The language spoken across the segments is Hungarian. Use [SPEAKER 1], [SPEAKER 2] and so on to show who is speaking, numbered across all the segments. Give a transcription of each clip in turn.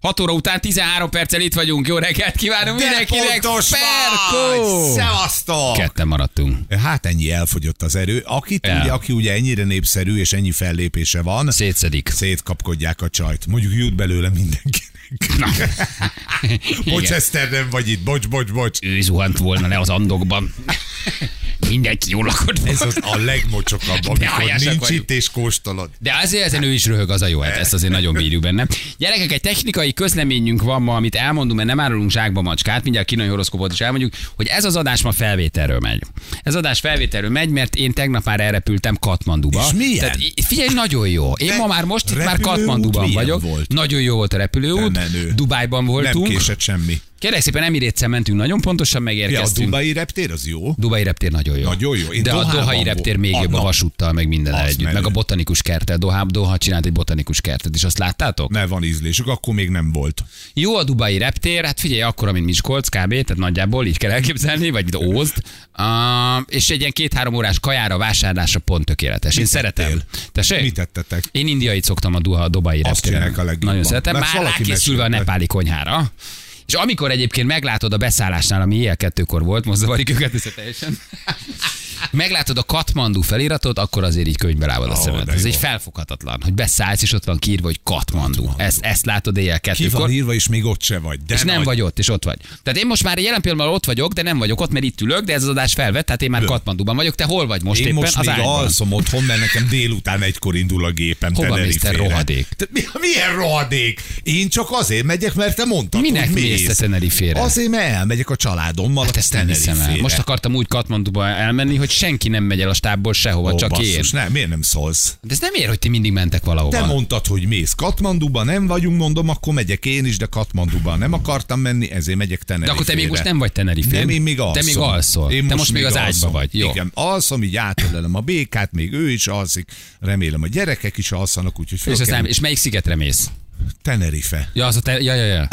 [SPEAKER 1] 6 óra után 13 perccel itt vagyünk. Jó reggelt kívánunk
[SPEAKER 2] De
[SPEAKER 1] mindenkinek.
[SPEAKER 2] pontos vagy!
[SPEAKER 1] Perkó!
[SPEAKER 2] Szevasztok!
[SPEAKER 1] Ketten maradtunk.
[SPEAKER 2] Hát ennyi elfogyott az erő. Akit,
[SPEAKER 1] El.
[SPEAKER 2] ugye, aki ugye ennyire népszerű és ennyi fellépése van,
[SPEAKER 1] Szétszedik.
[SPEAKER 2] szétkapkodják a csajt. Mondjuk jut belőle mindenkinek. bocs,
[SPEAKER 1] Igen.
[SPEAKER 2] Eszter, nem vagy itt. Bocs, bocs, bocs.
[SPEAKER 1] Ő zuhant volna le az andokban. Mindenki jól lakott volna.
[SPEAKER 2] Ez az a legmocsokabb, amikor
[SPEAKER 1] hájásak
[SPEAKER 2] nincs
[SPEAKER 1] vagyunk.
[SPEAKER 2] itt és kóstolod.
[SPEAKER 1] De azért ezen ő is röhög, az a jó, hát ezt azért nagyon bírjuk benne. Gyerekek, egy technikai közleményünk van ma, amit elmondunk, mert nem árulunk zsákba macskát, mindjárt kínai horoszkópot is elmondjuk, hogy ez az adás ma felvételről megy. Ez adás felvételről megy, mert én tegnap már elrepültem Katmanduba.
[SPEAKER 2] És milyen?
[SPEAKER 1] Tehát, i- figyelj, nagyon jó. Én
[SPEAKER 2] De
[SPEAKER 1] ma már most itt már
[SPEAKER 2] repülőút
[SPEAKER 1] Katmanduban
[SPEAKER 2] milyen
[SPEAKER 1] vagyok.
[SPEAKER 2] volt?
[SPEAKER 1] Nagyon jó volt a repülőút.
[SPEAKER 2] De menő.
[SPEAKER 1] Dubájban
[SPEAKER 2] Nem
[SPEAKER 1] voltunk.
[SPEAKER 2] késett semmi.
[SPEAKER 1] Kérlek szépen, Emirétszen mentünk, nagyon pontosan
[SPEAKER 2] Ja, a
[SPEAKER 1] megérkeztünk.
[SPEAKER 2] Dubai reptér az jó.
[SPEAKER 1] Dubai reptér nagyon jó.
[SPEAKER 2] Nagyon jó. Én
[SPEAKER 1] De a
[SPEAKER 2] Dohában
[SPEAKER 1] Dohai
[SPEAKER 2] volt.
[SPEAKER 1] reptér még
[SPEAKER 2] Ah,
[SPEAKER 1] jobb a
[SPEAKER 2] na.
[SPEAKER 1] vasúttal, meg minden
[SPEAKER 2] Az
[SPEAKER 1] együtt.
[SPEAKER 2] menő.
[SPEAKER 1] Meg a botanikus kerttel. Doha, Doha csinált egy botanikus kertet, és azt láttátok?
[SPEAKER 2] Ne van ízlésük, akkor még nem volt.
[SPEAKER 1] Jó a Dubai reptér, hát figyelj, akkora, mint Miskolc kb, tehát nagyjából így kell elképzelni, vagy mint Ózd. Uh, és egy ilyen két-három órás kajára, vásárlásra pont tökéletes. Én
[SPEAKER 2] Mit
[SPEAKER 1] szeretem.
[SPEAKER 2] ettél?
[SPEAKER 1] Tessék?
[SPEAKER 2] Mit tettetek?
[SPEAKER 1] Én indiait szoktam a Doha, Dobai
[SPEAKER 2] Azt
[SPEAKER 1] reptéren.
[SPEAKER 2] csinálják a legjobban.
[SPEAKER 1] Nagyon szeretem.
[SPEAKER 2] Mert
[SPEAKER 1] Már
[SPEAKER 2] valaki
[SPEAKER 1] rákészülve a
[SPEAKER 2] mesélte.
[SPEAKER 1] nepáli konyhára. És amikor egyébként meglátod a beszállásnál, ami éjjel kettőkor volt, most zavarjuk őket össze teljesen. meglátod a Katmandu feliratot, akkor azért így könyvbe lábad a
[SPEAKER 2] Ó,
[SPEAKER 1] szemed.
[SPEAKER 2] de
[SPEAKER 1] Ez
[SPEAKER 2] jó.
[SPEAKER 1] egy felfoghatatlan, hogy beszállsz, és ott van kiírva, hogy Katmandu. Ezt, ezt látod éjjel
[SPEAKER 2] Ki
[SPEAKER 1] kettőkor.
[SPEAKER 2] van írva, és még ott se vagy. De
[SPEAKER 1] És nem
[SPEAKER 2] nagy-
[SPEAKER 1] vagy ott, és ott vagy. Tehát én most már jelen pillanatban ott vagyok, de nem vagyok ott, mert itt ülök, de ez az adás felvett, tehát én már Katmanduban vagyok. Te hol vagy most
[SPEAKER 2] Én
[SPEAKER 1] éppen?
[SPEAKER 2] most
[SPEAKER 1] az
[SPEAKER 2] még
[SPEAKER 1] ágyban.
[SPEAKER 2] alszom otthon, mert nekem délután egykor indul a gépem.
[SPEAKER 1] Hova mész, te
[SPEAKER 2] Tenerifére.
[SPEAKER 1] rohadék?
[SPEAKER 2] Te, mi, milyen rohadék? Én csak azért megyek, mert te mondtad,
[SPEAKER 1] Minek
[SPEAKER 2] hogy
[SPEAKER 1] mész te Tenerifére?
[SPEAKER 2] Azért, mert elmegyek a családommal
[SPEAKER 1] Hát
[SPEAKER 2] a
[SPEAKER 1] ezt nem hiszem el.
[SPEAKER 2] Tenerifére.
[SPEAKER 1] Most akartam úgy Katmanduba elmenni, hogy senki nem megy el a stábból sehova,
[SPEAKER 2] Ó,
[SPEAKER 1] csak én.
[SPEAKER 2] basszus, nem, miért nem szólsz?
[SPEAKER 1] De ez nem ér, hogy ti mindig mentek valahova.
[SPEAKER 2] Te mondtad, hogy mész Katmanduba, nem vagyunk, mondom, akkor megyek én is, de Katmanduba nem akartam menni, ezért megyek
[SPEAKER 1] de
[SPEAKER 2] Tenerifére.
[SPEAKER 1] akkor te még most nem vagy Tenerifén.
[SPEAKER 2] Nem, én még alszom.
[SPEAKER 1] Te még alszol.
[SPEAKER 2] Én
[SPEAKER 1] te most még, az ágyba
[SPEAKER 2] alszom.
[SPEAKER 1] vagy. Jó.
[SPEAKER 2] Igen, alszom, így átölelem a békát, még ő is alszik. Remélem a gyerekek is alszanak, úgyhogy föl
[SPEAKER 1] És,
[SPEAKER 2] kell
[SPEAKER 1] aztán, és melyik szigetre mész?
[SPEAKER 2] Tenerife.
[SPEAKER 1] Ja, az a te... Ja, ja, ja.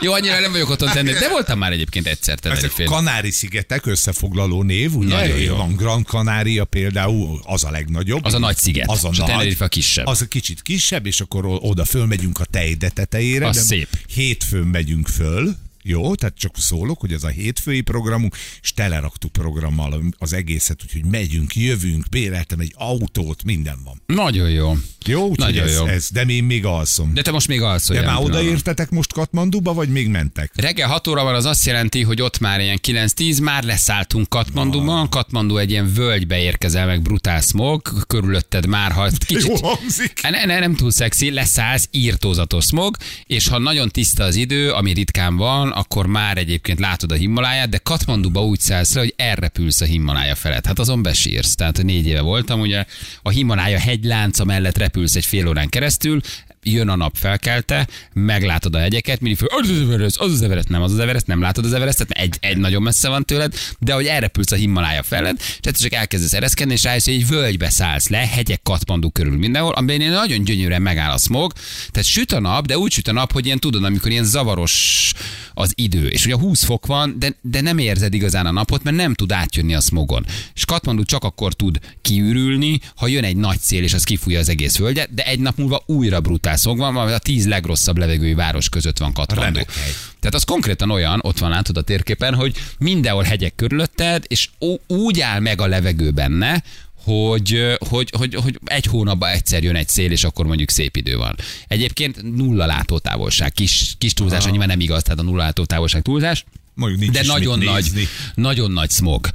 [SPEAKER 1] Jó, annyira nem vagyok otthon tenni. De voltam már egyébként egyszer
[SPEAKER 2] Ezek
[SPEAKER 1] Tenerifén.
[SPEAKER 2] Kanári-szigetek összefoglaló név, ugye?
[SPEAKER 1] Nagyon jó.
[SPEAKER 2] Van Gran Canaria például, az a legnagyobb.
[SPEAKER 1] Az a nagy sziget.
[SPEAKER 2] Az a
[SPEAKER 1] És a
[SPEAKER 2] nagy.
[SPEAKER 1] Tenerife a kisebb.
[SPEAKER 2] Az a kicsit kisebb, és akkor o- oda fölmegyünk a tejde tetejére.
[SPEAKER 1] Az
[SPEAKER 2] de
[SPEAKER 1] szép.
[SPEAKER 2] Hétfőn megyünk föl, jó, tehát csak szólok, hogy ez a hétfői programunk, és teleraktuk programmal az egészet, úgyhogy megyünk, jövünk, béreltem egy autót, minden van.
[SPEAKER 1] Nagyon jó.
[SPEAKER 2] Jó, úgyhogy
[SPEAKER 1] Nagyon
[SPEAKER 2] ez,
[SPEAKER 1] jó.
[SPEAKER 2] ez, de én még alszom.
[SPEAKER 1] De
[SPEAKER 2] De,
[SPEAKER 1] te most még alszol.
[SPEAKER 2] de
[SPEAKER 1] jelen
[SPEAKER 2] már
[SPEAKER 1] pillanatban.
[SPEAKER 2] odaértetek most Katmanduba, vagy még mentek?
[SPEAKER 1] Reggel 6 óra van, az azt jelenti, hogy ott már ilyen 9-10, már leszálltunk Katmanduban. Katmandu egy ilyen völgybe érkezel meg, brutál smog, körülötted már, ha
[SPEAKER 2] Jó
[SPEAKER 1] kicsit...
[SPEAKER 2] hangzik.
[SPEAKER 1] Ne, ne, nem túl szexi, leszállsz, írtózatos smog, és ha nagyon tiszta az idő, ami ritkán van, akkor már egyébként látod a Himaláját, de Katmanduba úgy szállsz le, hogy elrepülsz a Himalája felett. Hát azon besírsz. Tehát hogy négy éve voltam, ugye a Himalája hegylánca mellett repülsz egy fél órán keresztül, jön a nap felkelte, meglátod a hegyeket, mindig föl, az az Everest, az az Everest, nem az az Everest, nem látod az Everestet, mert egy, egy nagyon messze van tőled, de hogy elrepülsz a Himalája felett, és egyszer csak elkezdesz ereszkedni, és rájössz, hogy egy völgybe szállsz le, hegyek katmandú körül mindenhol, amiben ilyen nagyon gyönyörűen megáll a smog, tehát süt a nap, de úgy süt a nap, hogy ilyen tudod, amikor ilyen zavaros az idő, és ugye 20 fok van, de, de nem érzed igazán a napot, mert nem tud átjönni a smogon. És Katmandu csak akkor tud kiürülni, ha jön egy nagy szél, és az kifújja az egész völgyet, de egy nap múlva újra brutál szog van, mert a tíz legrosszabb levegői város között van Katmandu.
[SPEAKER 2] Remek hely.
[SPEAKER 1] Tehát az konkrétan olyan, ott van látod a térképen, hogy mindenhol hegyek körülötted, és ó- úgy áll meg a levegő benne, hogy, hogy, hogy, hogy egy hónapban egyszer jön egy szél, és akkor mondjuk szép idő van. Egyébként nulla látótávolság, kis, kis túlzás, annyiban nem igaz, tehát a nulla látótávolság túlzás,
[SPEAKER 2] Mondjuk nincs
[SPEAKER 1] de
[SPEAKER 2] is mit
[SPEAKER 1] nagyon nagy,
[SPEAKER 2] nézni.
[SPEAKER 1] nagyon nagy smog.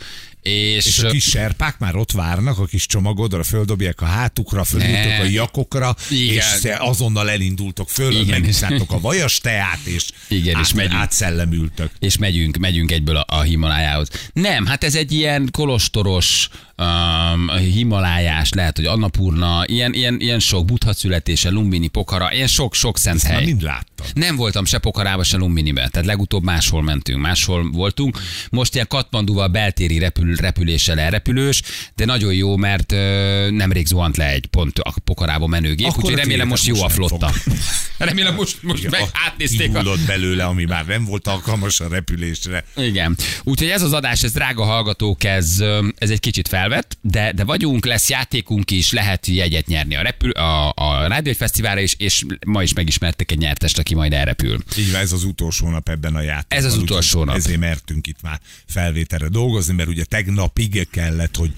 [SPEAKER 1] És,
[SPEAKER 2] És a kis serpák már ott várnak, a kis csomagodra földobják a hátukra,
[SPEAKER 1] Ne.
[SPEAKER 2] fölültök a jakokra,
[SPEAKER 1] Igen.
[SPEAKER 2] és te azonnal elindultok föl,
[SPEAKER 1] Igen.
[SPEAKER 2] megszálltok a vajas teát, és,
[SPEAKER 1] Igen, és megyünk.
[SPEAKER 2] átszellemültök.
[SPEAKER 1] és megyünk, megyünk egyből a, a Himalájához. Nem, hát ez egy ilyen kolostoros, um, himalájás, lehet, hogy Annapurna, ilyen, ilyen, ilyen sok buddha születése, Lumbini, Pokhara, ilyen sok-sok szent
[SPEAKER 2] Már
[SPEAKER 1] hely.
[SPEAKER 2] mind láttam.
[SPEAKER 1] Nem voltam se Pokarába, se Lumbinibe, tehát legutóbb máshol mentünk, máshol voltunk. Most ilyen Katmanduval beltéri repül, repüléssel elrepülős, de nagyon jó, mert ö, nemrég zuhant le egy pont a Pokarába menő gép,
[SPEAKER 2] Akkor
[SPEAKER 1] úgyhogy
[SPEAKER 2] a
[SPEAKER 1] remélem
[SPEAKER 2] tiétek
[SPEAKER 1] most jó
[SPEAKER 2] most
[SPEAKER 1] a
[SPEAKER 2] nem
[SPEAKER 1] flotta.
[SPEAKER 2] fog.
[SPEAKER 1] Remélem most, most meg átnézték a...
[SPEAKER 2] kihullott belőle, ami már nem volt alkalmas a repülésre.
[SPEAKER 1] Igen. Úgyhogy ez az adás, ez drága hallgatók, ez, ö, ez egy kicsit felvett, de, de vagyunk, lesz játékunk is, lehet jegyet nyerni a, repül, a, a Rádió egy Fesztiválra is, és ma is megismertek egy nyertest, aki majd elrepül.
[SPEAKER 2] Így van, ez az utolsó nap ebben a játékban.
[SPEAKER 1] Ez az
[SPEAKER 2] úgyhogy
[SPEAKER 1] utolsó nap.
[SPEAKER 2] Ezért mertünk itt már felvételre dolgozni, mert ugye tegnapig kellett, hogy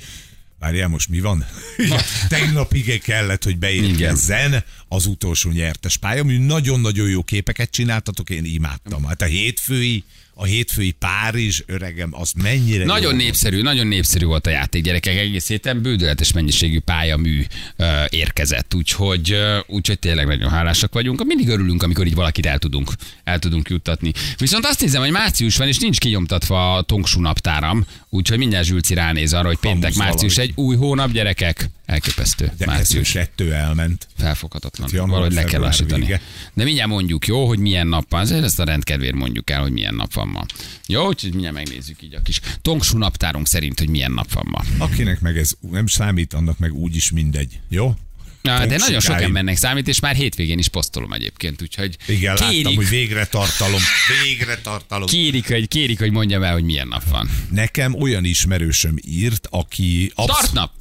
[SPEAKER 2] Várjál, most mi van? Igen, Tegnapig kellett, hogy beérkezzen az utolsó nyertes pálya, ami nagyon-nagyon jó képeket csináltatok, én imádtam. Hát a hétfői, a hétfői Párizs, öregem, az mennyire jó
[SPEAKER 1] Nagyon
[SPEAKER 2] volt.
[SPEAKER 1] népszerű, nagyon népszerű volt a játék, gyerekek. Egész héten bődöletes mennyiségű pályamű ö, érkezett, úgyhogy, ö, úgyhogy tényleg nagyon hálásak vagyunk. Mindig örülünk, amikor így valakit el tudunk, el tudunk juttatni. Viszont azt nézem, hogy március van, és nincs kinyomtatva a tongsú naptáram, úgyhogy mindjárt Zsülci ránéz arra, hogy péntek,
[SPEAKER 2] Hamuz
[SPEAKER 1] március
[SPEAKER 2] valahogy.
[SPEAKER 1] egy új hónap, gyerekek. Elképesztő.
[SPEAKER 2] De március
[SPEAKER 1] március
[SPEAKER 2] kettő elment.
[SPEAKER 1] felfoghatatlan.
[SPEAKER 2] Hát január,
[SPEAKER 1] Valahogy le kell
[SPEAKER 2] február
[SPEAKER 1] lassítani.
[SPEAKER 2] vége.
[SPEAKER 1] De mindjárt mondjuk, jó, hogy milyen nap van. Ezért ezt a rendkedvéért mondjuk el, hogy milyen nap van ma. Jó, úgyhogy mindjárt megnézzük így a kis tongsú naptárunk szerint, hogy milyen nap van ma.
[SPEAKER 2] Akinek meg ez nem számít, annak meg úgyis mindegy. Jó?
[SPEAKER 1] Na, de
[SPEAKER 2] Fogunk
[SPEAKER 1] nagyon sok
[SPEAKER 2] sokáig.
[SPEAKER 1] embernek számít, és már hétvégén is posztolom egyébként, úgyhogy
[SPEAKER 2] Igen,
[SPEAKER 1] kérik,
[SPEAKER 2] láttam, hogy végre tartalom. Végre tartalom.
[SPEAKER 1] kérik, hogy, kérik, hogy mondjam el, hogy milyen nap van.
[SPEAKER 2] Nekem olyan ismerősöm írt, aki absz-
[SPEAKER 1] Startnap!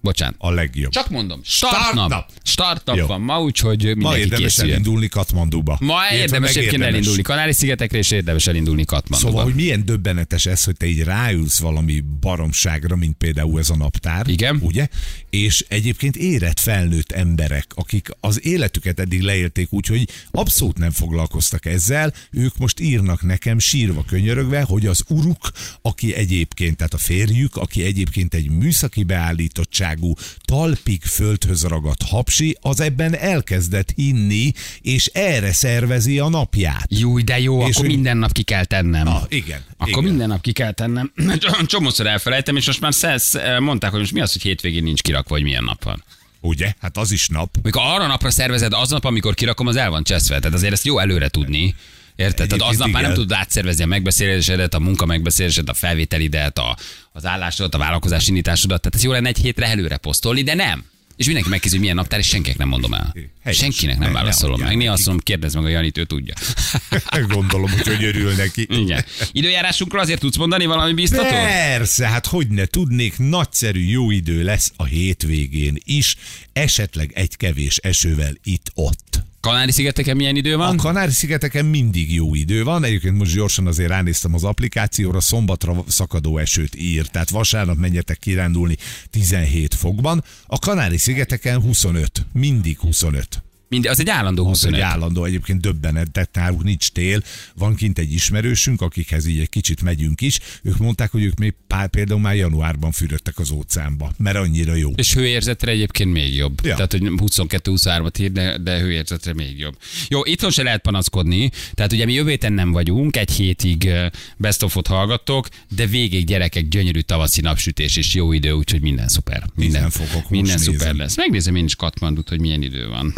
[SPEAKER 1] Bocsánat.
[SPEAKER 2] a legjobb.
[SPEAKER 1] Csak mondom,
[SPEAKER 2] Startnap.
[SPEAKER 1] startnap. Startnap
[SPEAKER 2] Jó.
[SPEAKER 1] van ma, úgyhogy
[SPEAKER 2] Ma
[SPEAKER 1] mindenki
[SPEAKER 2] érdemes
[SPEAKER 1] készüljön.
[SPEAKER 2] elindulni Katmanduba.
[SPEAKER 1] Ma
[SPEAKER 2] Illetve
[SPEAKER 1] érdemes
[SPEAKER 2] meg
[SPEAKER 1] egyébként
[SPEAKER 2] érdemes.
[SPEAKER 1] elindulni Kanári-szigetekre, és érdemes elindulni Katmanduba.
[SPEAKER 2] Szóval, hogy milyen döbbenetes ez, hogy te így ráülsz valami baromságra, mint például ez a naptár.
[SPEAKER 1] Igen.
[SPEAKER 2] Ugye? És egyébként érett felnőtt emberek, akik az életüket eddig leélték úgy, hogy abszolút nem foglalkoztak ezzel, ők most írnak nekem sírva, könyörögve, hogy az uruk, aki egyébként, tehát a férjük, aki egyébként egy műszaki beállítottságú, talpig földhöz ragadt hapsi, az ebben elkezdett hinni, és erre szervezi a napját.
[SPEAKER 1] Jó, de jó,
[SPEAKER 2] És
[SPEAKER 1] akkor
[SPEAKER 2] hogy-
[SPEAKER 1] minden nap ki kell tennem.
[SPEAKER 2] Ah, igen,
[SPEAKER 1] Akkor
[SPEAKER 2] igen.
[SPEAKER 1] minden nap ki kell tennem. Csomószor elfelejtem, és most már szesz, mondták, hogy most mi az, hogy hétvégén nincs kirakva, hogy milyen nap van.
[SPEAKER 2] Ugye? Hát az is nap.
[SPEAKER 1] Mikor arra napra szervezed, aznap, amikor kirakom, az el van cseszve. Tehát azért ezt jó előre tudni. Érted? Tehát
[SPEAKER 2] Egyébként
[SPEAKER 1] aznap már nem
[SPEAKER 2] igen.
[SPEAKER 1] tudod átszervezni a megbeszélésedet, a munka megbeszélésedet, a felvételidet, a, az állásodat, a vállalkozás indításodat. Tehát ez jó lenne egy hétre előre posztolni, de nem. És mindenki megkérdezi, hogy milyen naptár, és senkinek nem mondom el.
[SPEAKER 2] Helyes.
[SPEAKER 1] Senkinek nem
[SPEAKER 2] Ne- ne
[SPEAKER 1] válaszolom
[SPEAKER 2] adjál
[SPEAKER 1] meg. Néha
[SPEAKER 2] nekik.
[SPEAKER 1] azt mondom, kérdezd meg a Janit, ő tudja.
[SPEAKER 2] Gondolom, hogy, hogy örül neki.
[SPEAKER 1] Igen. Időjárásunkról azért tudsz mondani valami biztatót?
[SPEAKER 2] Persze, hát hogy ne tudnék, nagyszerű jó idő lesz a hétvégén is, esetleg egy kevés esővel itt-ott.
[SPEAKER 1] Kanári-szigeteken milyen idő
[SPEAKER 2] A
[SPEAKER 1] van?
[SPEAKER 2] Kanári-szigeteken mindig jó idő van, egyébként most gyorsan azért ránéztem az applikációra, szombatra szakadó esőt ír, tehát vasárnap menjetek kirándulni 17 fokban, a Kanári-szigeteken 25, mindig 25.
[SPEAKER 1] Mind, az egy állandó
[SPEAKER 2] Az egy
[SPEAKER 1] 25.
[SPEAKER 2] állandó, egyébként döbbenet, de náluk nincs tél. Van kint egy ismerősünk, akikhez így egy kicsit megyünk is. Ők mondták, hogy ők még pár, például már januárban fürödtek az óceánba, mert annyira jó.
[SPEAKER 1] És hőérzetre egyébként még jobb.
[SPEAKER 2] Ja.
[SPEAKER 1] Ja. Tehát, hogy 22-23-at ír, de, de hőérzetre még jobb. Jó, itthon se lehet panaszkodni. Tehát ugye mi jövő héten nem vagyunk, egy hétig eh, best of hallgattok, de végig gyerekek gyönyörű tavaszi napsütés és jó idő, úgyhogy minden szuper. Minden,
[SPEAKER 2] fokok, most
[SPEAKER 1] minden szuper
[SPEAKER 2] nézem.
[SPEAKER 1] lesz. Megnézem én is Katmandut, hogy milyen idő van.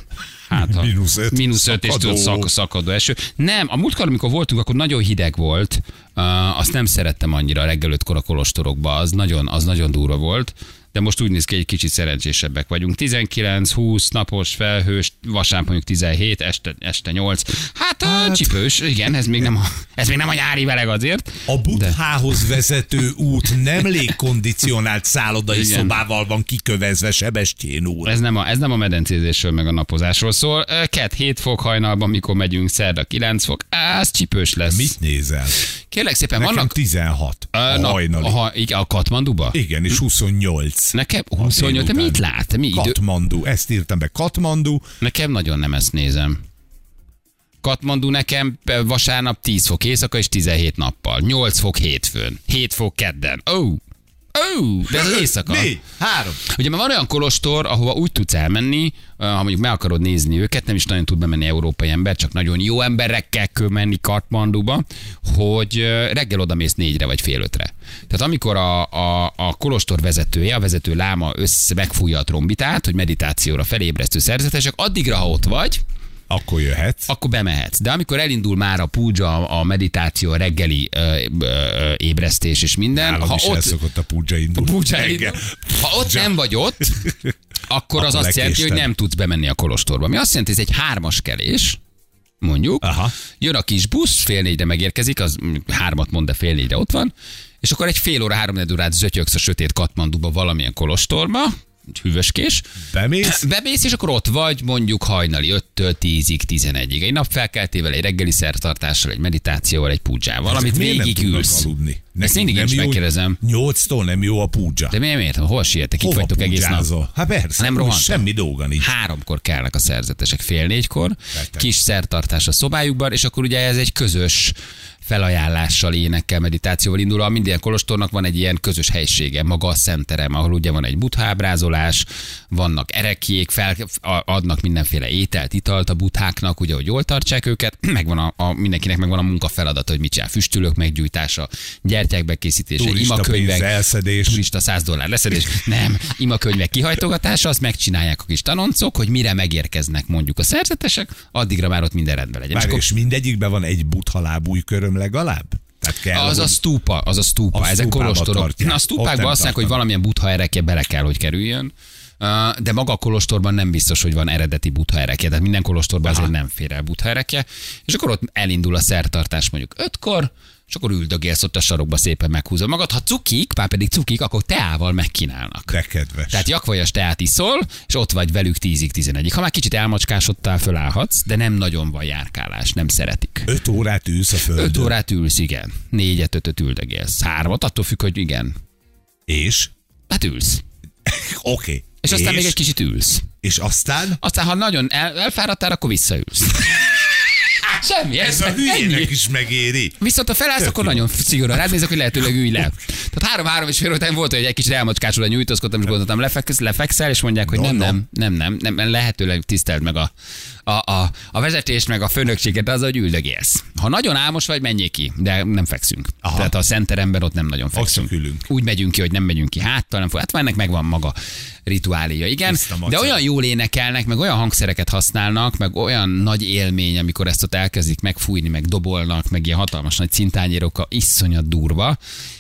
[SPEAKER 1] Hát, ha
[SPEAKER 2] Mínusz öt.
[SPEAKER 1] Mínusz öt és
[SPEAKER 2] Szakadó.
[SPEAKER 1] tudod, szak, szakadó eső. Nem, a múltkor, amikor voltunk, akkor nagyon hideg volt. Uh, azt nem szerettem annyira reggel ötkor a kolostorokba, az nagyon, az nagyon durva volt. De most úgy néz ki, egy kicsit szerencsésebbek vagyunk. 19-20 napos felhős, vasárnap mondjuk 17, este, este 8. Hát, hát, csipős, igen, ez még, nem a, ez még nem a nyári veleg azért.
[SPEAKER 2] A buthához vezető út nem légkondicionált szállodai
[SPEAKER 1] Igen.
[SPEAKER 2] szobával van kikövezve, Sebestyén úr.
[SPEAKER 1] Ez nem a, ez nem a medencézésről, meg a napozásról szól. Ö, Kett 7 fok hajnalban, mikor megyünk, szerda 9 fok, Á, ez csipős lesz.
[SPEAKER 2] Mit nézel?
[SPEAKER 1] Kérlek szépen,
[SPEAKER 2] Nekem
[SPEAKER 1] vannak
[SPEAKER 2] 16 a
[SPEAKER 1] Ö, nap-
[SPEAKER 2] hajnali.
[SPEAKER 1] aha, igen, a Katmanduba?
[SPEAKER 2] Igen, és 28.
[SPEAKER 1] Nekem 28, te mit
[SPEAKER 2] délután.
[SPEAKER 1] lát? Mi idő?
[SPEAKER 2] Katmandu, ezt írtam be, Katmandu,
[SPEAKER 1] Nekem nagyon nem ezt nézem. Katmandu nekem eh, vasárnap 10 fok éjszaka és 17 nappal. 8 fok hétfőn. 7 fok kedden. Ó! Oh. Ó! Oh, de ez az éjszaka.
[SPEAKER 2] négy, három.
[SPEAKER 1] Ugye már van olyan kolostor, ahova úgy tudsz elmenni, eh, ha mondjuk meg akarod nézni őket, nem is nagyon tud bemenni európai ember, csak nagyon jó emberekkel kell menni Katmanduba, hogy eh, reggel oda mész négyre vagy fél ötre. Tehát amikor a, a, a kolostor vezetője, a vezető láma össze megfújja a trombitát, hogy meditációra felébresztő szerzetesek, addigra, ha ott vagy,
[SPEAKER 2] Akkor jöhetsz.
[SPEAKER 1] akkor bemehetsz. De amikor elindul már a púdzsa, a meditáció, a reggeli ö, ö, ö, ébresztés és minden,
[SPEAKER 2] Nálam
[SPEAKER 1] ha
[SPEAKER 2] is
[SPEAKER 1] ott,
[SPEAKER 2] elszokott a púdzsa indulni.
[SPEAKER 1] Búcsá,
[SPEAKER 2] Engem.
[SPEAKER 1] ha ott nem vagy ott, akkor az azt jelenti, hogy nem tudsz bemenni a kolostorba. Mi azt jelenti, hogy ez egy hármas kelés, mondjuk,
[SPEAKER 2] Aha.
[SPEAKER 1] jön a kis busz, fél négyre megérkezik, az mondjuk hármat mond, de fél négyre ott van, és akkor egy fél óra, három órát zötyögsz a sötét Katmanduba valamilyen kolostorba, hűvöskés,
[SPEAKER 2] Bemész?
[SPEAKER 1] Bemész, és akkor ott vagy mondjuk hajnali 5-től 10-ig, 11-ig. Egy napfelkeltével, egy reggeli szertartással, egy meditációval, egy púdzsával, amit
[SPEAKER 2] Ezek Hát miért nem
[SPEAKER 1] végigülsz.
[SPEAKER 2] tudnak Aludni?
[SPEAKER 1] Ezt mindig én is megkérdezem.
[SPEAKER 2] 8-tól nem jó a púdzsa.
[SPEAKER 1] De miért értem? Hol sietek? Itt
[SPEAKER 2] Hova
[SPEAKER 1] vagytok egész nap.
[SPEAKER 2] púdzsázol? Hát persze,
[SPEAKER 1] Nem Hát
[SPEAKER 2] nem
[SPEAKER 1] rohantam.
[SPEAKER 2] semmi dolga nincs.
[SPEAKER 1] Háromkor kellnek a szerzetesek, fél négykor,
[SPEAKER 2] Beteg.
[SPEAKER 1] kis szertartás a szobájukban, és akkor ugye ez egy közös felajánlással, énekkel, meditációval indul. A minden kolostornak van egy ilyen közös helysége, maga a szenterem, ahol ugye van egy buthábrázolás, vannak erekjék, fel, a- adnak mindenféle ételt, italt a butháknak, ugye, hogy jól tartsák őket, megvan a, a mindenkinek megvan a munka feladata, hogy mit csinál, füstölők meggyújtása, gyertyák bekészítése,
[SPEAKER 2] Turista pénz,
[SPEAKER 1] imakönyvek,
[SPEAKER 2] elszedés.
[SPEAKER 1] turista 100 dollár leszedés. Nem, imakönyvek kihajtogatása, azt megcsinálják a kis tanoncok, hogy mire megérkeznek mondjuk a szerzetesek, addigra már ott minden rendben legyen.
[SPEAKER 2] Várj,
[SPEAKER 1] akkor
[SPEAKER 2] és mindegyikben van egy buthalábúj köröm legalább? Tehát kell,
[SPEAKER 1] az a
[SPEAKER 2] hogy-
[SPEAKER 1] stúpa, az a stúpa,
[SPEAKER 2] A
[SPEAKER 1] ezek
[SPEAKER 2] stúpába
[SPEAKER 1] kolostorok.
[SPEAKER 2] tartják.
[SPEAKER 1] Na, a
[SPEAKER 2] Ott
[SPEAKER 1] stúpákban
[SPEAKER 2] nem
[SPEAKER 1] azt mondják, hogy
[SPEAKER 2] tartanak.
[SPEAKER 1] valamilyen butha erekje bele kell, hogy kerüljön. Ö, De maga a kolostorban nem biztos, hogy van eredeti butha erekje, tehát minden kolostorban azért nem fér el butha erekje. És akkor ott elindul a szertartás mondjuk ötkor, és akkor üldögélsz ott a sarokba szépen meghúzod magad. Ha cukik, már pedig cukik, akkor teával megkínálnak.
[SPEAKER 2] De kedves.
[SPEAKER 1] Tehát jakvajas teát iszol, és ott vagy velük 10-ig, 11-ig. Ha már kicsit elmacskásodtál, fölállhatsz, de nem nagyon van járkálás, nem szeretik.
[SPEAKER 2] 5 órát ülsz a földön.
[SPEAKER 1] 5 órát ülsz, igen. 4-et, 5-öt üldögélsz. 3-at, attól függ, hogy igen.
[SPEAKER 2] És?
[SPEAKER 1] Hát ülsz.
[SPEAKER 2] Oké. Okay.
[SPEAKER 1] És aztán még egy kicsit ülsz.
[SPEAKER 2] és aztán?
[SPEAKER 1] Aztán, ha nagyon el, elfáradtál, akkor visszaülsz. Semmi, ez,
[SPEAKER 2] Ez a
[SPEAKER 1] Hát ennyi.
[SPEAKER 2] hülyének is megéri.
[SPEAKER 1] Viszont ha felállsz, akkor nagyon szigorúan rád nézek, hogy lehetőleg ülj le. Tehát három-három és fél után volt, hogy egy kicsit elmacskásodva nyújtózkodtam, és gondoltam, lefeksz, lefekszel, és mondják, hogy
[SPEAKER 2] No,
[SPEAKER 1] nem,
[SPEAKER 2] no.
[SPEAKER 1] nem, nem, nem, nem, nem, lehetőleg tiszteld meg a, a, a, a vezetést, meg a főnökséget, az, hogy üldögélsz. Ha nagyon álmos vagy, menjél ki, de nem fekszünk. Aha.
[SPEAKER 2] Aha.
[SPEAKER 1] Tehát a szenteremben ott nem nagyon fekszünk.
[SPEAKER 2] csak ülünk.
[SPEAKER 1] Úgy megyünk ki, hogy nem megyünk ki háttal, nem fog. Hát már ennek megvan maga rituáléja, igen.
[SPEAKER 2] Tiszta
[SPEAKER 1] De
[SPEAKER 2] macera.
[SPEAKER 1] olyan olyan jól énekelnek, meg olyan hangszereket használnak, meg olyan nagy élmény, amikor ezt ott elkezdik megfújni, meg dobolnak, meg ilyen hatalmas nagy cintányérokkal, iszonyat durva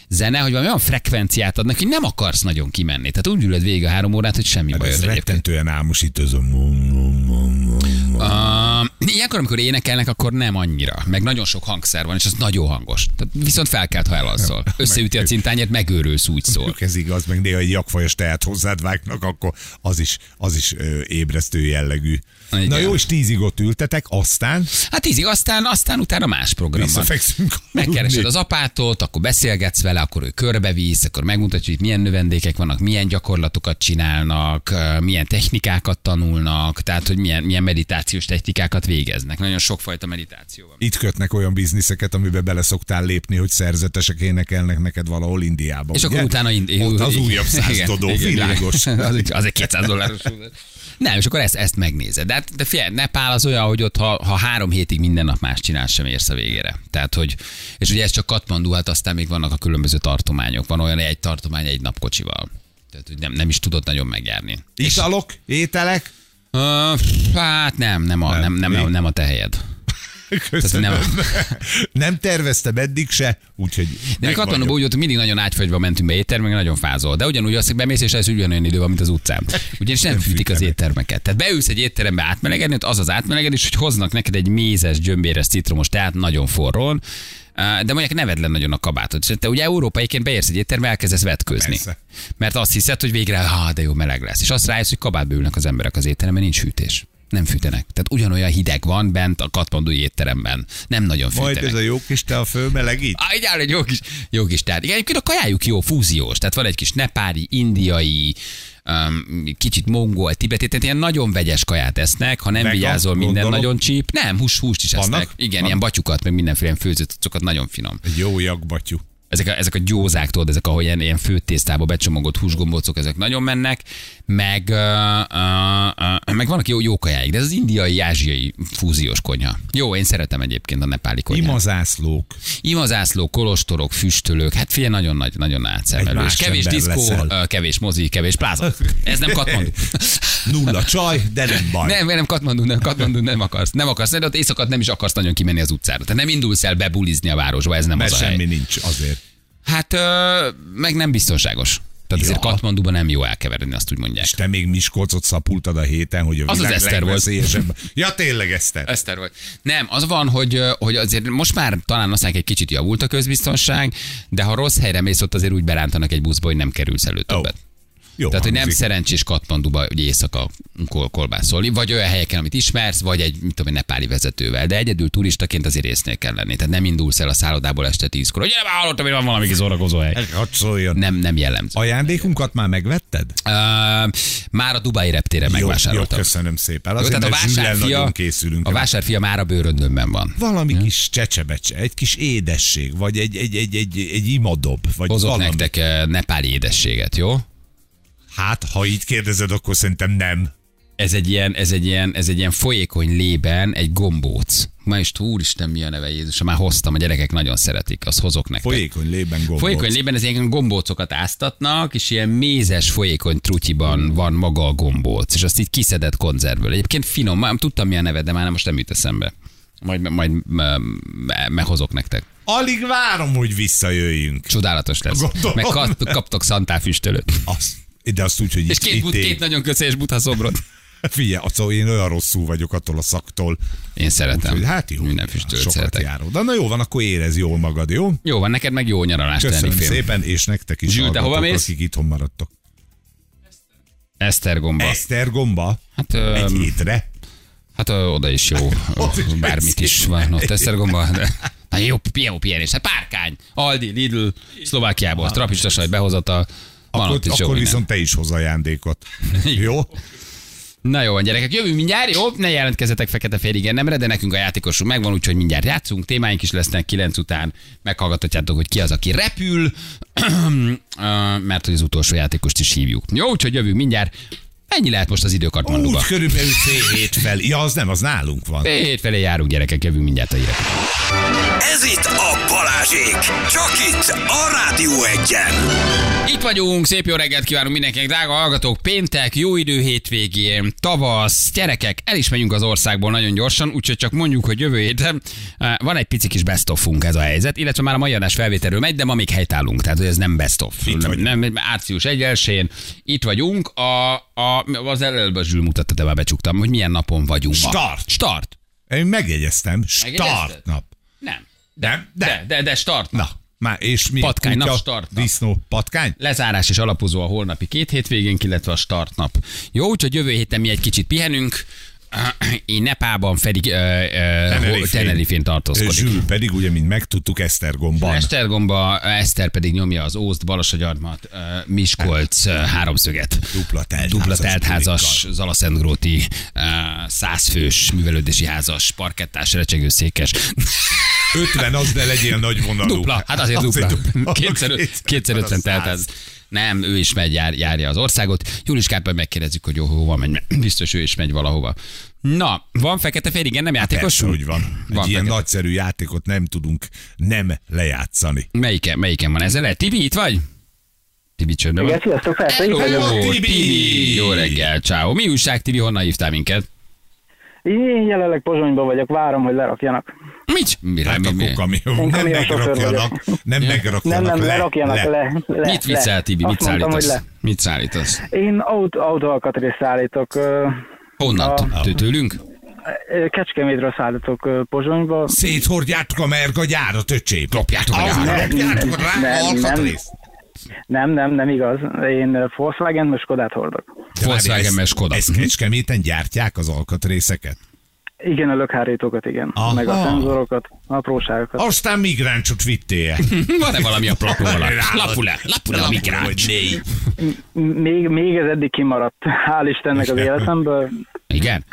[SPEAKER 1] zene, hogy valami olyan frekvenciát adnak, hogy nem akarsz nagyon kimenni. Tehát úgy ülöd végig a három órát, hogy semmi baj.
[SPEAKER 2] Hát Ez
[SPEAKER 1] az egyébként.
[SPEAKER 2] rettentően álmosít ez a mum, mum, mum, mum, mum.
[SPEAKER 1] Uh, ilyenkor, amikor énekelnek, akkor nem annyira. Meg nagyon sok hangszer van, és az nagyon hangos. Tehát viszont felkelt, ha elalszol. Összeüti a cintányért, megőrülsz, úgy szól.
[SPEAKER 2] Tök ez igaz, meg néha egy jakfajas teát hozzád vágnak, akkor az is, az is ö, ébresztő jellegű.
[SPEAKER 1] Igen.
[SPEAKER 2] Igen. Na jó, és tízig ott ültetek, aztán
[SPEAKER 1] Hát ízig, aztán, aztán utána más program van.
[SPEAKER 2] visszafekszünk.
[SPEAKER 1] Megkeresed
[SPEAKER 2] aludni.
[SPEAKER 1] az apátot, akkor beszélgetsz vele, akkor ő körbevisz, akkor megmutatja, hogy itt milyen növendékek vannak, milyen gyakorlatokat csinálnak, eh, milyen technikákat tanulnak, tehát hogy milyen, milyen meditációs technikákat végeznek. Nagyon sokfajta meditáció van.
[SPEAKER 2] Itt kötnek olyan bizniszeket, amiben bele szoktál lépni, hogy szerzetesek énekelnek neked valahol Indiában.
[SPEAKER 1] És akkor utána ind-
[SPEAKER 2] Ott az újabb száz
[SPEAKER 1] Igen,
[SPEAKER 2] dodó,
[SPEAKER 1] igen,
[SPEAKER 2] világos.
[SPEAKER 1] igen. az, egy, az egy 200 dolláros. Nem, és akkor ezt, ezt megnézed. De, hát- de figyelj, Nepál az olyan, hogy ott, ha, ha három hétig minden nap más csinál, sem érsz a végére. Tehát, hogy, és ugye ez csak Katmandu, hát aztán még vannak a különböző tartományok. Van olyan egy tartomány egy napkocsival. Tehát, hogy nem, nem is tudod nagyon megjárni.
[SPEAKER 2] Italok, ételek,
[SPEAKER 1] Uh, hát nem, nem a, nem,
[SPEAKER 2] Nem,
[SPEAKER 1] nem, nem,
[SPEAKER 2] mi?
[SPEAKER 1] nem a te helyed.
[SPEAKER 2] Köszönöm.
[SPEAKER 1] nem-
[SPEAKER 2] Nem. nem terveztem eddig se, úgyhogy
[SPEAKER 1] De még
[SPEAKER 2] meg
[SPEAKER 1] katlanul
[SPEAKER 2] vagyok.
[SPEAKER 1] úgy volt, hogy mindig nagyon ágyfagyva mentünk be éttermekbe, meg nagyon fázol. De ugyanúgy azt, hogy bemész, és ez ugyanolyan idő van, mint az utcán. Ugyanis nem,
[SPEAKER 2] Nem
[SPEAKER 1] fűtik az
[SPEAKER 2] fűtenek.
[SPEAKER 1] éttermeket. Tehát beülsz egy étterembe átmelegedni, ott az az átmelegedés, hogy hoznak neked egy mézes, gyömbéres, citromos, tehát nagyon forrón. Á, De mondják, ne vedd le nagyon a kabátot. És Te ugye európaiként beérsz egy étterembe, elkezdesz vetkőzni.
[SPEAKER 2] Persze.
[SPEAKER 1] Mert azt hiszed, hogy végre, ha de jó meleg lesz. És azt rájössz, hogy kabátba ülnek az emberek az étteremben, nincs hűtés. Nem fűtenek. Tehát ugyanolyan hideg van bent a katmandúi étteremben. Nem nagyon fűtenek.
[SPEAKER 2] Majd ez a jó kis te a fölmelegít.
[SPEAKER 1] Á, így áll egy jó kis, jó kis tárgy. Igen, egyébként a kajájuk jó, fúziós. Tehát van egy kis nepári, indiai, um, kicsit mongol, tibeti, tehát ilyen nagyon vegyes kaját esznek, ha nem
[SPEAKER 2] Vega,
[SPEAKER 1] vigyázol, minden
[SPEAKER 2] gondolom.
[SPEAKER 1] nagyon csíp. Nem, hús, húst is esznek.
[SPEAKER 2] Vannak?
[SPEAKER 1] Igen,
[SPEAKER 2] Vannak.
[SPEAKER 1] ilyen batyukat, meg mindenféle ilyen főzött cuccokat, nagyon finom.
[SPEAKER 2] Egy jó jakbatyú.
[SPEAKER 1] Ezek a, ezek a gyózák, tudod, ezek, ahol ilyen, ilyen főtésztába becsomagolt húsgombócok, ezek nagyon mennek, meg, uh, uh, uh, meg vannak jó, jó kajáik, de ez az indiai-ázsiai fúziós konyha. Jó, én szeretem egyébként a nepáli konyhát.
[SPEAKER 2] Imazászlók.
[SPEAKER 1] Imazászló, kolostorok, füstölők, hát figyelj, nagyon nagy, nagyon átszemelő. És
[SPEAKER 2] Egy más
[SPEAKER 1] kevés
[SPEAKER 2] ember
[SPEAKER 1] diszkó,
[SPEAKER 2] leszel.
[SPEAKER 1] ö, kevés mozi, kevés pláza. Ez nem Katmandu.
[SPEAKER 2] Nulla csaj, de nem baj.
[SPEAKER 1] Nem, nem Katmandu, nem Katmandu, nem akarsz. Nem akarsz, de ott éjszakat nem is akarsz nagyon kimenni az utcára. Tehát nem indulsz el bebulizni a városba, ez nem
[SPEAKER 2] Mert
[SPEAKER 1] az a hely.
[SPEAKER 2] semmi nincs azért.
[SPEAKER 1] Hát, ö, meg nem biztonságos. Tehát ja. azért
[SPEAKER 2] Ja.
[SPEAKER 1] Katmanduban nem jó elkeveredni, azt úgy mondják.
[SPEAKER 2] És te még Miskolcot szapultad a héten, hogy a
[SPEAKER 1] Az az
[SPEAKER 2] világ
[SPEAKER 1] Eszter volt.
[SPEAKER 2] legveszélyesebb. Ja, tényleg Eszter.
[SPEAKER 1] Eszter volt. Nem, az van, hogy, ö, hogy azért most már talán aztán egy kicsit javult a közbiztonság, de ha rossz helyre mész, ott azért úgy berántanak egy buszba, hogy nem kerülsz elő többet. Oh.
[SPEAKER 2] Jó,
[SPEAKER 1] Tehát, hogy nem
[SPEAKER 2] hangzik.
[SPEAKER 1] szerencsés Katmanduba hogy éjszaka kol- kolbászolni, vagy olyan helyeken, amit ismersz, vagy egy, mit tudom, én, nepáli vezetővel, de egyedül turistaként azért észnél kell lenni. Tehát nem indulsz el a szállodából este tízkor, hogy "Ja, nem hallottam, hogy van valami kizorakozó hely.
[SPEAKER 2] Hadd szóljon.
[SPEAKER 1] Nem, nem jellemző.
[SPEAKER 2] Ajándékunkat már megvetted?
[SPEAKER 1] Uh, már a Dubai reptére
[SPEAKER 2] Jó, jó,
[SPEAKER 1] megvásároltam.
[SPEAKER 2] köszönöm szépen.
[SPEAKER 1] Jó,
[SPEAKER 2] Azért,
[SPEAKER 1] tehát a
[SPEAKER 2] mert zsüllen
[SPEAKER 1] vásárfia,
[SPEAKER 2] nagyon készülünk.
[SPEAKER 1] a vásárfia már a bőröndömben van.
[SPEAKER 2] valami kis csecsebecse, egy kis édesség, vagy egy, egy, egy, egy, egy imadob, vagy
[SPEAKER 1] Hozok
[SPEAKER 2] valami.
[SPEAKER 1] nektek eh, nepáli édességet, jó?
[SPEAKER 2] Hát, ha így kérdezed, akkor szerintem nem.
[SPEAKER 1] Ez egy ilyen, ez egy ilyen, ez egy ilyen folyékony lében egy gombóc. Ma is úristen, mi a neve Jézus, már hoztam, a gyerekek nagyon szeretik, azt hozok nektek.
[SPEAKER 2] Folyékony lében gombóc.
[SPEAKER 1] Folyékony lében ez ilyen gombócokat áztatnak, és ilyen mézes folyékony trutyiban van maga a gombóc, és azt így kiszedett konzervből. Egyébként finom, már tudtam mi a neve, de már most nem jut eszembe. Majd, majd m- m- meghozok nektek.
[SPEAKER 2] Alig várom, hogy visszajöjjünk.
[SPEAKER 1] Csodálatos lesz.
[SPEAKER 2] Gondolom.
[SPEAKER 1] Meg kap, kaptok szantáfüstölőt.
[SPEAKER 2] Azt, de azt úgy, hogy
[SPEAKER 1] És
[SPEAKER 2] itt,
[SPEAKER 1] két,
[SPEAKER 2] itt
[SPEAKER 1] but, két
[SPEAKER 2] ég.
[SPEAKER 1] nagyon köszönös butha szobrot.
[SPEAKER 2] Figyelj, attól én olyan rosszul vagyok attól a szaktól.
[SPEAKER 1] Én szeretem.
[SPEAKER 2] Úgyhogy, hát jó,
[SPEAKER 1] Minden füstölőt
[SPEAKER 2] sokat
[SPEAKER 1] szeretek.
[SPEAKER 2] járó. De na jó van, akkor érez jól magad, jó?
[SPEAKER 1] Jó van, neked meg jó nyaralást
[SPEAKER 2] Köszönöm
[SPEAKER 1] tenni, film.
[SPEAKER 2] szépen, és nektek is
[SPEAKER 1] Zsül, te
[SPEAKER 2] hallgatók,
[SPEAKER 1] hova mész?
[SPEAKER 2] akik itthon maradtok.
[SPEAKER 1] Esztergomba.
[SPEAKER 2] Esztergomba?
[SPEAKER 1] Hát, ö,
[SPEAKER 2] Egy hétre?
[SPEAKER 1] hát ö, oda is jó.
[SPEAKER 2] Ott is
[SPEAKER 1] Bármit is
[SPEAKER 2] beszél.
[SPEAKER 1] van ott Esztergomba. de- Na jó, jó pihenés. Hát párkány, Aldi, Lidl, Szlovákiából, trapistasaj behozata. Van
[SPEAKER 2] Akkor,
[SPEAKER 1] ott is jó
[SPEAKER 2] akkor
[SPEAKER 1] viszont...
[SPEAKER 2] viszont te is hoz ajándékot. jó?
[SPEAKER 1] Na jó van, gyerekek, jövünk mindjárt, jó? Ne jelentkezzetek fekete féligen nemre, de nekünk a játékosunk megvan, úgyhogy mindjárt játszunk, témáink is lesznek kilenc után, meghallgathatjátok, hogy ki az, aki repül, Ö, mert hogy az utolsó játékost is hívjuk. Jó, úgyhogy jövünk mindjárt. Ennyi lehet most az időkartmanduba.
[SPEAKER 2] Úgy körülbelül fél hét fel. Ja, az nem, az nálunk van.
[SPEAKER 1] Hétfelé járunk, gyerekek, jövünk mindjárt a hírek.
[SPEAKER 3] Ez itt a Balázsék! Csak itt a Rádió Egyen!
[SPEAKER 1] Itt vagyunk, szép jó reggelt kívánunk mindenkinek, drága hallgatók, péntek, jó idő hétvégén, tavasz, gyerekek, el is megyünk az országból nagyon gyorsan, úgyhogy csak mondjuk, hogy jövő héten eh, van egy pici kis best offunk ez a helyzet, illetve már a mai adás felvételről megy, de ma még helytállunk, tehát hogy ez nem best of.
[SPEAKER 2] vagyunk.
[SPEAKER 1] Nem, nem, árcius 1 itt vagyunk, a, a, az előbb a Zsül mutatta, de már becsuktam, hogy milyen napon vagyunk ma.
[SPEAKER 2] Start.
[SPEAKER 1] Start.
[SPEAKER 2] Én megjegyeztem,
[SPEAKER 1] Megjegyezted?
[SPEAKER 2] start nap.
[SPEAKER 1] Nem.
[SPEAKER 2] Nem? De.
[SPEAKER 1] De, de, de start.
[SPEAKER 2] Na, már és mi?
[SPEAKER 1] Patkány,
[SPEAKER 2] Kutya,
[SPEAKER 1] nap, start, nap.
[SPEAKER 2] Disznó, patkány?
[SPEAKER 1] Lezárás és alapozó a holnapi két hétvégén, illetve a startnap. Jó, úgyhogy jövő héten mi egy kicsit pihenünk. Én Nepában pedig ö, ö,
[SPEAKER 2] Tenerifén.
[SPEAKER 1] Tenerifén tartózkodik.
[SPEAKER 2] Zsül pedig, ugye, mint megtudtuk, Esztergomban.
[SPEAKER 1] Esztergomba, Eszter pedig nyomja az Ószt, Balasagyarmat, ö, Miskolc, ö, Háromszöget.
[SPEAKER 2] Dupla teltházas
[SPEAKER 1] Dupla teltházas, Zalaszentgróti, ö, százfős, művelődési házas, parkettás, recsegőszékes.
[SPEAKER 2] 50 az, de legyél nagy vonalú.
[SPEAKER 1] Dupla, hát azért dupla. Kétszer,
[SPEAKER 2] Kétszer-
[SPEAKER 1] kétszer
[SPEAKER 2] az
[SPEAKER 1] ötven telt
[SPEAKER 2] száz.
[SPEAKER 1] az. Nem, ő is megy, jár, járja az országot. Juliskában megkérdezzük, hogy jó, hova megy, mert biztos ő is megy valahova. Na, van fekete fér, igen, nem játékos?
[SPEAKER 2] Hát Persze, hogy van. Egy
[SPEAKER 1] Van
[SPEAKER 2] ilyen
[SPEAKER 1] fekete.
[SPEAKER 2] nagyszerű játékot nem tudunk nem lejátszani.
[SPEAKER 1] Melyiken, melyiken van ezzel? Tibi, itt vagy? Tibi csöndben van.
[SPEAKER 4] Igen, sziasztok, Fertei
[SPEAKER 1] Hello,
[SPEAKER 4] vagyok.
[SPEAKER 2] Hello, Tibi!
[SPEAKER 1] Tibi! Jó reggel, ciao. Mi újság, Tibi, honnan hívtál minket?
[SPEAKER 4] Én jelenleg Pozsonyban vagyok, várom, hogy lerakjanak.
[SPEAKER 1] Mit? Mire,
[SPEAKER 2] Hát
[SPEAKER 1] mi, mi?
[SPEAKER 2] akkor kamion. Nem
[SPEAKER 4] kamion sofőr
[SPEAKER 2] megrakjanak. Nem
[SPEAKER 4] Nem,
[SPEAKER 2] megrakjanak.
[SPEAKER 4] nem,
[SPEAKER 2] le,
[SPEAKER 4] lerakjanak
[SPEAKER 2] le.
[SPEAKER 4] le. le,
[SPEAKER 1] Mit viszel,
[SPEAKER 4] le.
[SPEAKER 1] Tibi?
[SPEAKER 4] Azt
[SPEAKER 1] Mit
[SPEAKER 4] mondtam, hogy
[SPEAKER 1] szállítasz?
[SPEAKER 4] le.
[SPEAKER 1] Mit szállítasz?
[SPEAKER 4] Én autó, autóalkatrészt szállítok. ö,
[SPEAKER 1] Honnan? Tő- Tőlünk?
[SPEAKER 4] ö, Kecskemétről szállítok ö, Pozsonyba.
[SPEAKER 2] Széthordjátok a merga gyárat, öcsém.
[SPEAKER 1] Lopjátok a gyárat.
[SPEAKER 2] Lopjátok rá a
[SPEAKER 4] Nem, nem.
[SPEAKER 2] alkatrészt.
[SPEAKER 4] Nem, nem, nem igaz. Én ö, Volkswagen, most Skodát hordok.
[SPEAKER 2] De várj,
[SPEAKER 1] Volkswagen, Mhm.
[SPEAKER 2] ezt-
[SPEAKER 1] mert Skoda.
[SPEAKER 2] Ezt Kecskeméten gyártják az alkatrészeket.
[SPEAKER 4] Igen, a lökhárítókat, igen.
[SPEAKER 2] Aha.
[SPEAKER 4] Meg a szenzorokat, apróságokat.
[SPEAKER 2] Aztán migráncsot vittél.
[SPEAKER 1] Van-e valami a plakóval?
[SPEAKER 2] Rá-
[SPEAKER 1] Lapula, lapula, migráns.
[SPEAKER 2] hogy né.
[SPEAKER 4] M- Még, még ez eddig kimaradt. Hál' Istennek az életemből.
[SPEAKER 1] Igen?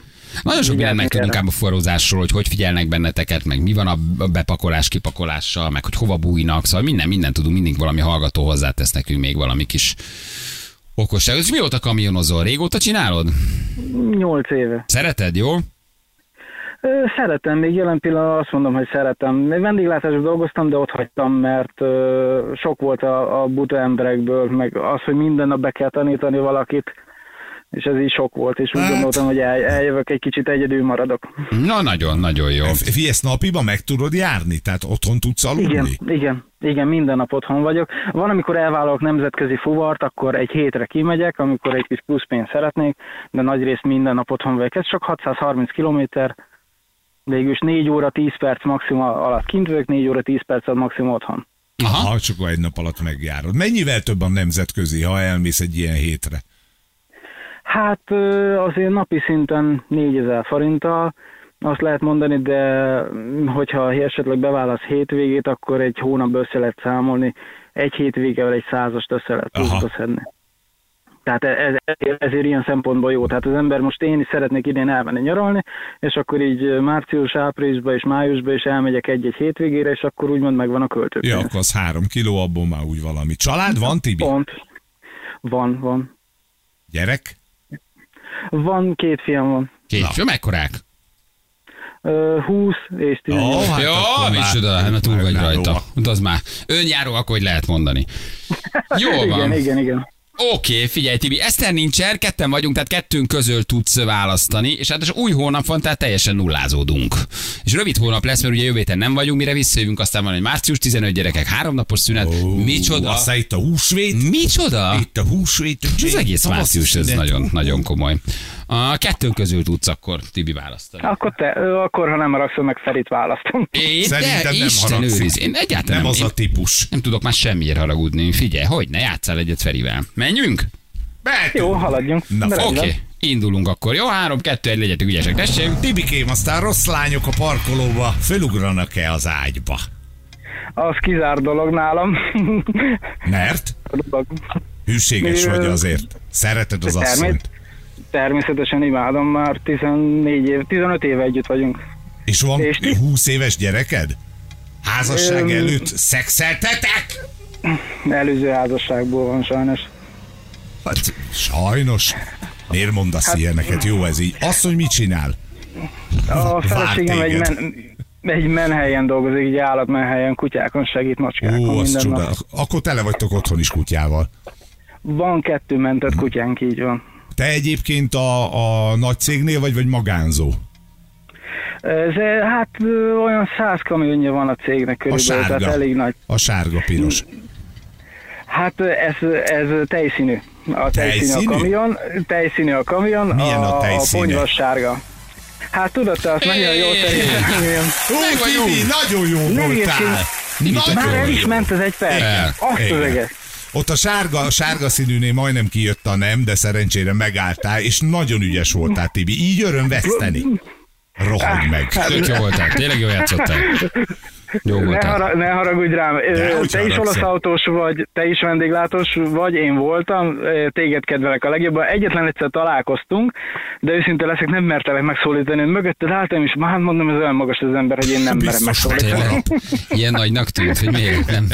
[SPEAKER 1] Nagyon sok
[SPEAKER 4] Igen,
[SPEAKER 1] mindent
[SPEAKER 4] igen.
[SPEAKER 1] megtudunk ám a forrózásról, hogy hogy figyelnek benneteket, meg mi van a bepakolás, kipakolással, meg hogy hova bújnak, szóval minden, minden tudunk, mindig valami hallgató hozzátesz nekünk még valami kis okosság. Ez mióta kamionozol? Régóta csinálod?
[SPEAKER 4] Nyolc éve.
[SPEAKER 1] Szereted, jó?
[SPEAKER 4] Ö, Szeretem, még jelen pillanatban azt mondom, hogy szeretem. Én Vendéglátásban dolgoztam, de ott hagytam, mert ö, sok volt a, a buta emberekből, meg az, hogy minden nap be kell tanítani valakit, és ez így sok volt, és úgy
[SPEAKER 2] Hát.
[SPEAKER 4] gondoltam, hogy el, eljövök, egy kicsit egyedül maradok.
[SPEAKER 1] Na, nagyon, nagyon jó.
[SPEAKER 2] Figyelj, ezt napiba meg tudod járni? Tehát otthon tudsz aludni?
[SPEAKER 4] Igen, igen. Igen, minden nap otthon vagyok. Van, amikor elvállalok nemzetközi fuvart, akkor egy hétre kimegyek, amikor egy kis plusz pénzt szeretnék, de nagyrészt minden nap otthon vagyok. Ez csak 630 kilométer, végülis 4 óra 10 perc maximum alatt kint vagyok, 4 óra 10 perc alatt maximum otthon.
[SPEAKER 1] Aha.
[SPEAKER 2] Ha csak egy nap alatt megjárod. Mennyivel több a nemzetközi, ha elmész egy ilyen hétre?
[SPEAKER 4] Hát ö, azért napi szinten 4000 forinttal, azt lehet mondani, de mm, hogyha esetleg beválasz hétvégét, akkor egy hónapban össze lehet számolni, egy hétvégevel egy százast össze lehet
[SPEAKER 2] Aha.
[SPEAKER 4] pluszba szedni. Tehát e, ez, ezért, ezért ilyen szempontból jó. Tehát az ember most én is szeretnék idén elmenni nyaralni, és akkor így március, áprilisba és májusba is elmegyek egy-egy hétvégére, és akkor úgymond megvan a költőpénz.
[SPEAKER 2] Ja, akkor az három kiló, abból már úgy valami. Család van, Tibi?
[SPEAKER 4] Pont. Van, van.
[SPEAKER 2] Gyerek?
[SPEAKER 4] Van, két fiam van.
[SPEAKER 1] Két fő, mekkorák?
[SPEAKER 4] Ö, 20 és 18.
[SPEAKER 2] Ó, hát
[SPEAKER 1] Jó,
[SPEAKER 2] akkor már-
[SPEAKER 1] micsoda, hát már túl vagy
[SPEAKER 2] önállóak.
[SPEAKER 1] rajta. De az már önjáró, akkor hogy lehet mondani. Jó van.
[SPEAKER 4] igen, igen, igen.
[SPEAKER 1] Oké, okay, figyelj Tibi, Eszter nincsen, ketten vagyunk, tehát kettőnk közül tudsz választani, és hát új hónap van, tehát teljesen nullázódunk. És rövid hónap lesz, mert ugye jövő héten nem vagyunk, mire visszajövünk, aztán van egy március 15 gyerekek, háromnapos szünet,
[SPEAKER 2] Ó,
[SPEAKER 1] oh, micsoda,
[SPEAKER 2] Aztán itt a húsvét.
[SPEAKER 1] micsoda?
[SPEAKER 2] Itt a húsvét.
[SPEAKER 1] Ez egész
[SPEAKER 2] tavaszi
[SPEAKER 1] március, ez
[SPEAKER 2] szünet.
[SPEAKER 1] nagyon, nagyon komoly. A kettőnk közül tudsz akkor Tibi választani.
[SPEAKER 4] Akkor te, ö, akkor ha nem haragszol, meg Ferit választom.
[SPEAKER 1] Én, de
[SPEAKER 2] Szerintem nem
[SPEAKER 1] Isten
[SPEAKER 2] haragszik.
[SPEAKER 1] őriz, én egyáltalán
[SPEAKER 2] Nem az
[SPEAKER 1] én
[SPEAKER 2] a típus.
[SPEAKER 1] nem tudok már semmiért haragudni. Figyelj, hogy ne játszál egyet Ferivel. Menjünk?
[SPEAKER 4] Jó, haladjunk.
[SPEAKER 2] Na,
[SPEAKER 4] De
[SPEAKER 1] Oké,
[SPEAKER 4] rendben.
[SPEAKER 1] okay. indulunk akkor. Jó, három, kettő, egy, legyetek ügyesek, tessék.
[SPEAKER 2] Tibikém, aztán rossz lányok a parkolóba fölugranak-e az ágyba?
[SPEAKER 4] Az kizár dolog nálam.
[SPEAKER 2] Mert
[SPEAKER 4] A dolog.
[SPEAKER 2] hűséges
[SPEAKER 4] Ö,
[SPEAKER 2] vagy azért. Szereted az
[SPEAKER 4] termés-
[SPEAKER 2] asszonyt.
[SPEAKER 4] Természetesen imádom, már 14 év, 15 éve együtt vagyunk.
[SPEAKER 2] És van
[SPEAKER 4] és-
[SPEAKER 2] 20 éves gyereked? Házasság
[SPEAKER 4] Ö,
[SPEAKER 2] előtt szexeltetek?
[SPEAKER 4] Előző házasságból van sajnos.
[SPEAKER 2] Hát, sajnos. Miért mondasz
[SPEAKER 4] Hát-
[SPEAKER 2] ilyeneket? Jó ez így. Asszony mit csinál?
[SPEAKER 4] A
[SPEAKER 2] Vár
[SPEAKER 4] feleségem egy,
[SPEAKER 2] téged.
[SPEAKER 4] men, egy menhelyen dolgozik, egy állatmenhelyen, kutyákon segít, macskákon
[SPEAKER 2] Ó, az
[SPEAKER 4] minden
[SPEAKER 2] csoda.
[SPEAKER 4] nap.
[SPEAKER 2] Akkor tele vagytok otthon is kutyával.
[SPEAKER 4] Van kettő mentett kutyánk, így van.
[SPEAKER 2] Te egyébként a, a nagy cégnél vagy, vagy magánzó?
[SPEAKER 4] Ez, eh, hát ö, olyan száz kamionja van a cégnek
[SPEAKER 2] A
[SPEAKER 4] körülbelül, tehát
[SPEAKER 2] sárga.
[SPEAKER 4] elég nagy.
[SPEAKER 2] A sárga piros.
[SPEAKER 4] Hát ez, ez tejszínű. A tejszínű,
[SPEAKER 2] Tejszínű?
[SPEAKER 4] a kamion, tejszínű a kamion,
[SPEAKER 2] Milyen a
[SPEAKER 4] a,
[SPEAKER 2] tejszíne?
[SPEAKER 4] ponyva sárga. Hát tudod, te azt nagyon jól szerintem.
[SPEAKER 2] Ó, Tibi, nagyon jó
[SPEAKER 4] Ne
[SPEAKER 2] voltál! Nagyon
[SPEAKER 4] Már el is
[SPEAKER 2] jó.
[SPEAKER 4] ment az egy
[SPEAKER 2] Igen,
[SPEAKER 4] perc. Azt
[SPEAKER 2] igen.
[SPEAKER 4] az egész.
[SPEAKER 2] Ott a sárga, a sárga színűnél majdnem kijött a nem, de szerencsére megálltál, és nagyon ügyes voltál, Tibi. Így öröm veszteni. Rohagy meg.
[SPEAKER 1] Tök jó voltál, tényleg jól játszottál. Jó
[SPEAKER 4] Ne,
[SPEAKER 1] voltál.
[SPEAKER 4] hara, ne haragudj rám. Ö,
[SPEAKER 2] Ne, hogy
[SPEAKER 4] te is
[SPEAKER 2] haragszol.
[SPEAKER 4] olasz autós vagy, te is vendéglátós vagy, én voltam, ö, téged kedvelek a legjobban. Egyetlen egyszer találkoztunk, de őszinte leszek, nem mertelek megszólítani. Ön Mögötted álltam, és már hát mondom, ez olyan magas az ember, hogy én nem merem
[SPEAKER 2] Biztos
[SPEAKER 4] megszólítani.
[SPEAKER 1] Tényleg, ilyen nagynak tűnt, hogy miért nem,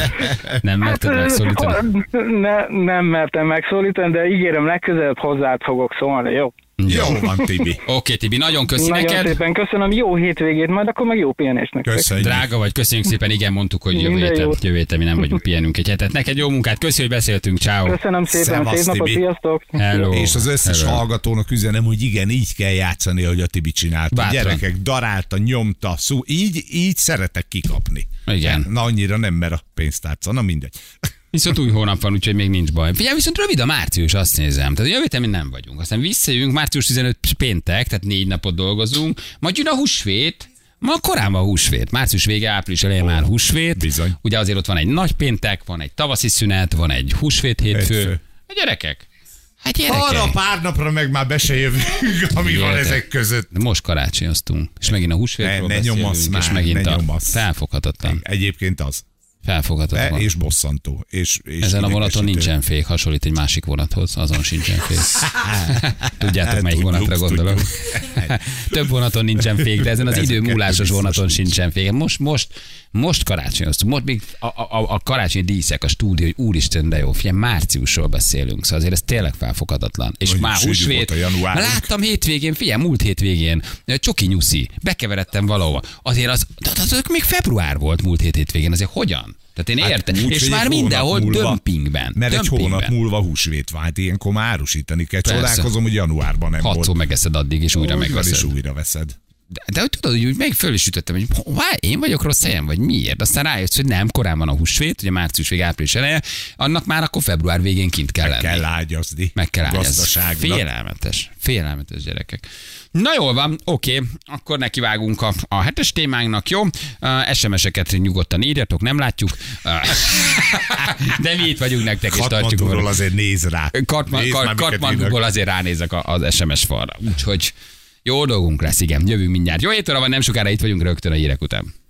[SPEAKER 1] nem merted megszólítani.
[SPEAKER 4] Ne, nem mertem megszólítani, de ígérem, legközelebb hozzád fogok szólni, jó?
[SPEAKER 2] Jó van, Tibi.
[SPEAKER 1] Oké, Tibi, nagyon köszi
[SPEAKER 4] Nagyon
[SPEAKER 1] neked.
[SPEAKER 4] szépen köszönöm, jó hétvégét, majd akkor meg jó pihenést nektek.
[SPEAKER 2] Köszönjük.
[SPEAKER 1] Drága vagy, köszönjük szépen, igen, mondtuk, hogy jövő
[SPEAKER 4] Minden
[SPEAKER 1] héten,
[SPEAKER 4] jót.
[SPEAKER 1] jövő héten mi nem vagyunk, pihenünk egy hetet. Neked jó munkát, köszi, hogy beszéltünk, ciao.
[SPEAKER 4] Köszönöm szépen,
[SPEAKER 2] Szevasz,
[SPEAKER 4] szép napot,
[SPEAKER 2] Tibi.
[SPEAKER 4] sziasztok!
[SPEAKER 1] Hello.
[SPEAKER 2] És az összes
[SPEAKER 1] Hello.
[SPEAKER 2] hallgatónak üzenem, hogy igen, így kell játszani, ahogy a Tibi csinálta.
[SPEAKER 1] Bátran.
[SPEAKER 2] Gyerekek, darálta, nyomta, szó, így, így szeretek kikapni.
[SPEAKER 1] Igen.
[SPEAKER 2] Na annyira nem, mert a pénztárca, na mindegy.
[SPEAKER 1] Viszont új hónap van, úgyhogy még nincs baj. Figyelj, viszont rövid a március, azt nézem. Tehát jövő héten mi nem vagyunk. Aztán visszajövünk, március 15 péntek, tehát négy napot dolgozunk. Majd jön a húsvét, Ma korán van húsvét, március vége, április elején már húsvét.
[SPEAKER 2] bizony.
[SPEAKER 1] Ugye azért ott van egy nagy péntek, van egy tavaszi szünet, van egy húsvét hétfő.
[SPEAKER 2] Hétfő.
[SPEAKER 1] A gyerekek? Hát
[SPEAKER 2] Arra
[SPEAKER 1] gyerekek.
[SPEAKER 2] pár napra meg már be se jövünk, ami van
[SPEAKER 1] Érted.
[SPEAKER 2] ezek között.
[SPEAKER 1] De most karácsonyoztunk, és megint a
[SPEAKER 2] Ne- ne
[SPEAKER 1] húsvétről
[SPEAKER 2] nyomasz
[SPEAKER 1] beszélünk,
[SPEAKER 2] már,
[SPEAKER 1] és megint
[SPEAKER 2] ne
[SPEAKER 1] a
[SPEAKER 2] nyomasz.
[SPEAKER 1] felfoghatatlan.
[SPEAKER 2] Egyébként az. E,
[SPEAKER 1] Felfoghatatlan.
[SPEAKER 2] és bosszantó. És, és
[SPEAKER 1] Ezen a vonaton
[SPEAKER 2] idegesítő. Hát
[SPEAKER 1] nincsen fék, hasonlít egy másik vonathoz, azon sincsen fék. Tudjátok, melyik
[SPEAKER 2] Hát Tudjuk,
[SPEAKER 1] vonatra gondolok.
[SPEAKER 2] tudjuk.
[SPEAKER 1] Több vonaton nincsen fék, de ezen az
[SPEAKER 2] Ezeken
[SPEAKER 1] idő múlásos
[SPEAKER 2] biztos
[SPEAKER 1] vonaton
[SPEAKER 2] nincs.
[SPEAKER 1] sincsen fék. Most, most, most karácsonyoztunk, most még a, a, a karácsonyi díszek, a stúdió, hogy úristen, de jó, figyelj, márciusról beszélünk, szóval azért ez tényleg felfoghatatlan. És
[SPEAKER 2] Mondjuk
[SPEAKER 1] már
[SPEAKER 2] sűrű
[SPEAKER 1] húsvét,
[SPEAKER 2] volt a januárunk.
[SPEAKER 1] már láttam hétvégén, figyelj, múlt hétvégén, ö, Csoki Nyuszi, bekeveredtem valahova. Azért az, az, az, az még február volt múlt hét hétvégén, azért hogyan? Tehát én
[SPEAKER 2] Hát
[SPEAKER 1] értem,
[SPEAKER 2] úgy,
[SPEAKER 1] és
[SPEAKER 2] hogy
[SPEAKER 1] már
[SPEAKER 2] egy hónap
[SPEAKER 1] mindenhol
[SPEAKER 2] múlva-
[SPEAKER 1] dömpingben.
[SPEAKER 2] Mert egy
[SPEAKER 1] dömpingben.
[SPEAKER 2] hónap múlva húsvét vált, ilyenkor már árusítani kell.
[SPEAKER 1] Persze.
[SPEAKER 2] Csodálkozom, hogy januárban nem
[SPEAKER 1] Hatszor
[SPEAKER 2] volt.
[SPEAKER 1] megeszed addig, és újra
[SPEAKER 2] Úgy van,
[SPEAKER 1] megveszed.
[SPEAKER 2] És újra veszed.
[SPEAKER 1] De, de hogy tudod, hogy úgy meg föl is ütöttem, hogy hová, én vagyok rossz helyen, vagy miért? Aztán rájössz, hogy nem, korán van a húsvét, ugye március vég, április eleje, annak már akkor február végén kint kell lenni.
[SPEAKER 2] kell ágyazni.
[SPEAKER 1] Meg kell állni. Ez
[SPEAKER 2] Gazdaságnak.
[SPEAKER 1] félelmetes. Félelmetes gyerekek. Na jól van, oké, akkor nekivágunk a, a hetes témánknak, jó? Uh, SMS-eket nyugodtan írjatok, nem látjuk. Uh, de mi itt vagyunk nektek, és tartjuk
[SPEAKER 2] Katmandúról
[SPEAKER 1] magunkat.
[SPEAKER 2] azért néz rá.
[SPEAKER 1] Kartman,
[SPEAKER 2] Nézd már,
[SPEAKER 1] kar,
[SPEAKER 2] miket írnak.
[SPEAKER 1] Kartmandúból azért ránézek a- az SMS falra. Úgyhogy jó dolgunk lesz, igen, jövünk mindjárt. Jó étora van, nem sokára itt vagyunk rögtön a hírek után.